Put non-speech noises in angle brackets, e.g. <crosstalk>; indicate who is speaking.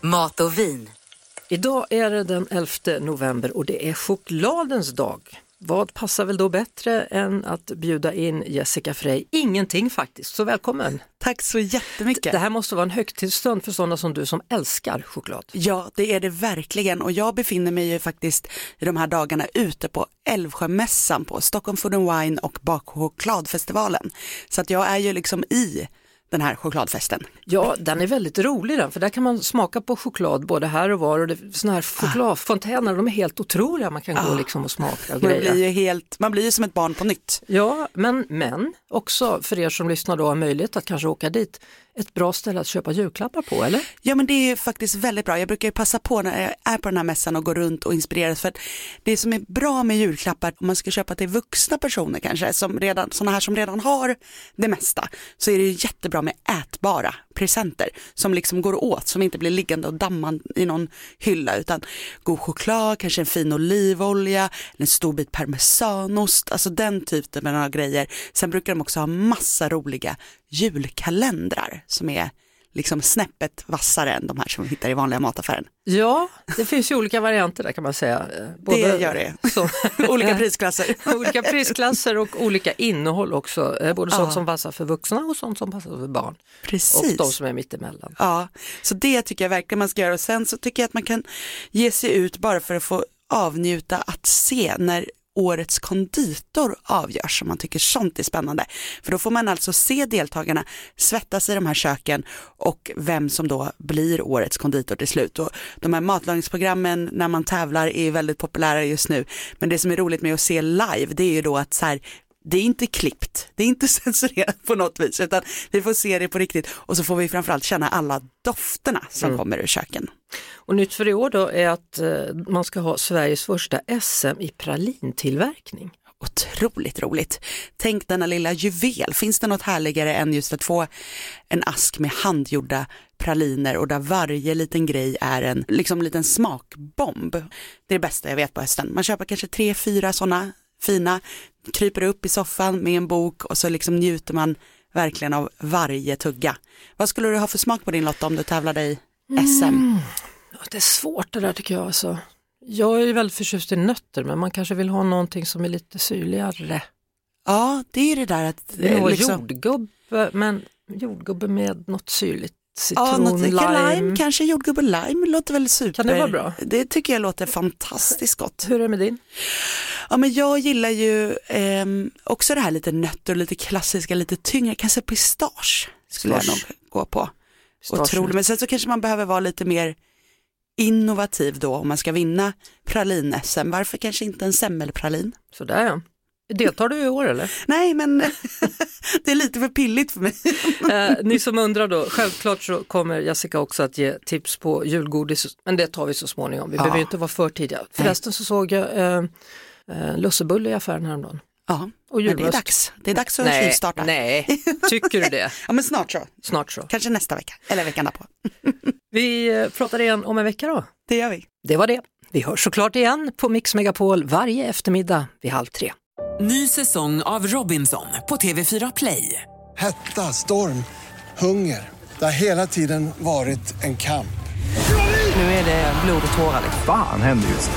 Speaker 1: Mat och vin.
Speaker 2: Idag är det den 11 november och det är chokladens dag. Vad passar väl då bättre än att bjuda in Jessica Frey? Ingenting faktiskt, så välkommen!
Speaker 3: Tack så jättemycket.
Speaker 2: Det här måste vara en högtidsstund för sådana som du som älskar choklad.
Speaker 3: Ja, det är det verkligen och jag befinner mig ju faktiskt i de här dagarna ute på Älvsjömässan på Stockholm Food and Wine och bakchokladfestivalen. Så att jag är ju liksom i den här chokladfesten.
Speaker 2: Ja, den är väldigt rolig den, för där kan man smaka på choklad både här och var och det- såna här
Speaker 3: Ah.
Speaker 2: chokladfontäner, de är helt otroliga, man kan gå liksom och smaka och
Speaker 3: Man
Speaker 2: greja.
Speaker 3: blir ju helt, man blir ju som ett barn på nytt.
Speaker 2: Ja, men, men också för er som lyssnar då har möjlighet att kanske åka dit, ett bra ställe att köpa julklappar på, eller?
Speaker 3: Ja men det är ju faktiskt väldigt bra. Jag brukar ju passa på när jag är på den här mässan och går runt och inspireras för att det som är bra med julklappar om man ska köpa till vuxna personer kanske, som redan, sådana här som redan har det mesta, så är det ju jättebra med ätbara presenter som liksom går åt, som inte blir liggande och damma i någon hylla utan god choklad, kanske en fin olivolja, eller en stor bit parmesanost, alltså den typen av grejer. Sen brukar de också ha massa roliga julkalendrar som är liksom snäppet vassare än de här som vi hittar i
Speaker 2: <laughs>
Speaker 3: vanliga mataffären.
Speaker 2: Ja, det finns ju olika varianter där kan man säga. Eh,
Speaker 3: gör det.
Speaker 2: Som,
Speaker 3: <laughs> Olika prisklasser.
Speaker 2: <laughs> olika prisklasser och olika innehåll också, eh, både sånt som passar för vuxna och sånt som passar för barn.
Speaker 3: Ah. Precis.
Speaker 2: Och de som är mittemellan.
Speaker 3: Ja, så det tycker jag verkligen man ska göra och sen så tycker jag att man kan ge sig ut bara för att få avnjuta att se när årets konditor avgörs om man tycker sånt är spännande. För då får man alltså se deltagarna svettas i de här köken och vem som då blir årets konditor till slut. Och de här matlagningsprogrammen när man tävlar är ju väldigt populära just nu. Men det som är roligt med att se live det är ju då att så här, det är inte klippt, det är inte <laughs> censurerat på något vis, utan vi får se det på riktigt och så får vi framförallt känna alla dofterna som kommer ur köken.
Speaker 2: Och nytt för i år då är att eh, man ska ha Sveriges första SM i pralintillverkning.
Speaker 3: Otroligt roligt. Tänk denna lilla juvel, finns det något härligare än just att få en ask med handgjorda praliner och där varje liten grej är en liksom liten smakbomb. Det är det bästa jag vet på hösten. Man köper kanske tre, fyra sådana fina, kryper upp i soffan med en bok och så liksom njuter man verkligen av varje tugga. Vad skulle du ha för smak på din Lotta om du tävlade i SM?
Speaker 2: Ja, Det är svårt det där tycker jag. Alltså. Jag är ju väldigt förtjust i nötter men man kanske vill ha någonting som är lite syrligare.
Speaker 3: Ja, det är ju det där att...
Speaker 2: Det
Speaker 3: eh,
Speaker 2: var
Speaker 3: liksom-
Speaker 2: jordgubbe, men jordgubbe med något syrligt. Citron,
Speaker 3: Ja, något, lime.
Speaker 2: lime.
Speaker 3: kanske jordgubbe lime låter väl super.
Speaker 2: Kan det vara bra?
Speaker 3: Det tycker jag låter fantastiskt gott.
Speaker 2: Hur är det med din?
Speaker 3: Ja, men jag gillar ju ehm, också det här lite nötter, lite klassiska, lite tyngre, kanske pistage skulle jag
Speaker 2: Pistage.
Speaker 3: nog gå på.
Speaker 2: Pistage.
Speaker 3: Otroligt, men sen så kanske man behöver vara lite mer innovativ då om man ska vinna pralin-SM. Varför kanske inte en semmelpralin?
Speaker 2: Sådär ja. Deltar du i år eller?
Speaker 3: Nej, men <laughs> det är lite för pilligt
Speaker 2: <laughs>
Speaker 3: för mig.
Speaker 2: Eh, ni som undrar då, självklart så kommer Jessica också att ge tips på julgodis, men det tar vi så småningom. Vi behöver ju inte vara för tidiga. Förresten så såg jag eh, eh, lussebulle i affären häromdagen.
Speaker 3: Ja,
Speaker 2: Och
Speaker 3: men det är
Speaker 2: julmust.
Speaker 3: dags. Det är dags att tjuvstarta.
Speaker 2: nej, tycker du det?
Speaker 3: Ja, men snart så.
Speaker 2: Snart så.
Speaker 3: Kanske nästa vecka, eller veckan därpå.
Speaker 2: Vi eh, pratar igen om en vecka då.
Speaker 3: Det gör vi.
Speaker 2: Det var det. Vi hörs såklart igen på Mix Megapol varje eftermiddag vid halv tre.
Speaker 4: Ny säsong av Robinson på TV4 Play.
Speaker 5: Hetta, storm, hunger. Det har hela tiden varit en kamp.
Speaker 4: Nu är det blod och tårar.
Speaker 6: Fan händer just nu.